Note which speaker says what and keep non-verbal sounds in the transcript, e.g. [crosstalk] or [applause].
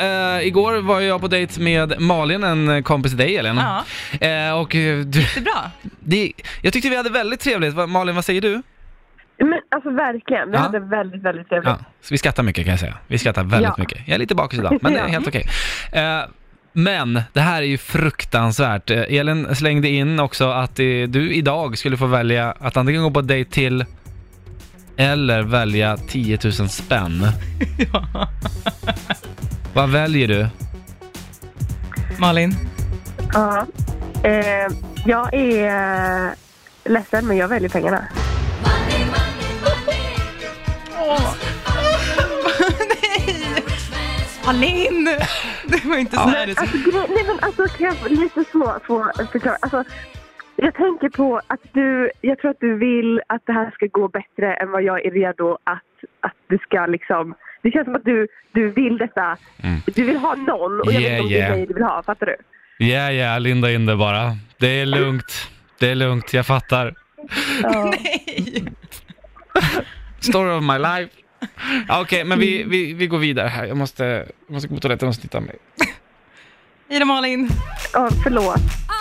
Speaker 1: Eh, igår var jag på dejt med Malin, en kompis till dig Elin.
Speaker 2: Ja.
Speaker 1: Eh, och eh, du,
Speaker 2: Det är bra.
Speaker 1: det, jag tyckte vi hade väldigt trevligt. Va- Malin, vad säger du?
Speaker 3: Men alltså verkligen, vi
Speaker 1: Ja.
Speaker 3: hade väldigt, väldigt trevligt.
Speaker 1: Ja, så vi skrattar mycket kan jag säga. Vi skrattar väldigt
Speaker 3: Ja.
Speaker 1: mycket. Jag är lite bakis
Speaker 3: [laughs]
Speaker 1: idag, men det är
Speaker 3: Ja.
Speaker 1: helt okej. Eh, men det här är ju fruktansvärt. Eh, Elin slängde in också att eh, du idag skulle få välja att antingen gå på dejt till eller välja 10 000
Speaker 3: [laughs]
Speaker 1: spänn.
Speaker 2: Ja.
Speaker 1: Vad väljer du?
Speaker 2: Malin.
Speaker 3: Ja. Eh, jag är eh, ledsen, men jag väljer pengarna.
Speaker 2: Malin! Det var inte så här det
Speaker 3: Alltså, grej, nej, men alltså, kan jag lite så få förklara? Alltså, jag tänker på att du, jag tror att du vill att det här ska gå bättre än vad jag är redo att, att du ska liksom, det känns som att du, du vill detta, du vill ha någon och jag
Speaker 1: Yeah,
Speaker 3: vet inte om
Speaker 1: yeah.
Speaker 3: det är dig du vill ha, fattar du?
Speaker 1: Ja, yeah, ja, yeah, linda in det bara. Det är lugnt. Det är lugnt, jag fattar.
Speaker 2: Nej.
Speaker 1: Story of my life. Ja, Okej, men vi, vi, vi går vidare här. Jag måste, jag måste gå på toaletten och snitta mig.
Speaker 2: Hej då Malin.
Speaker 3: Ja, förlåt.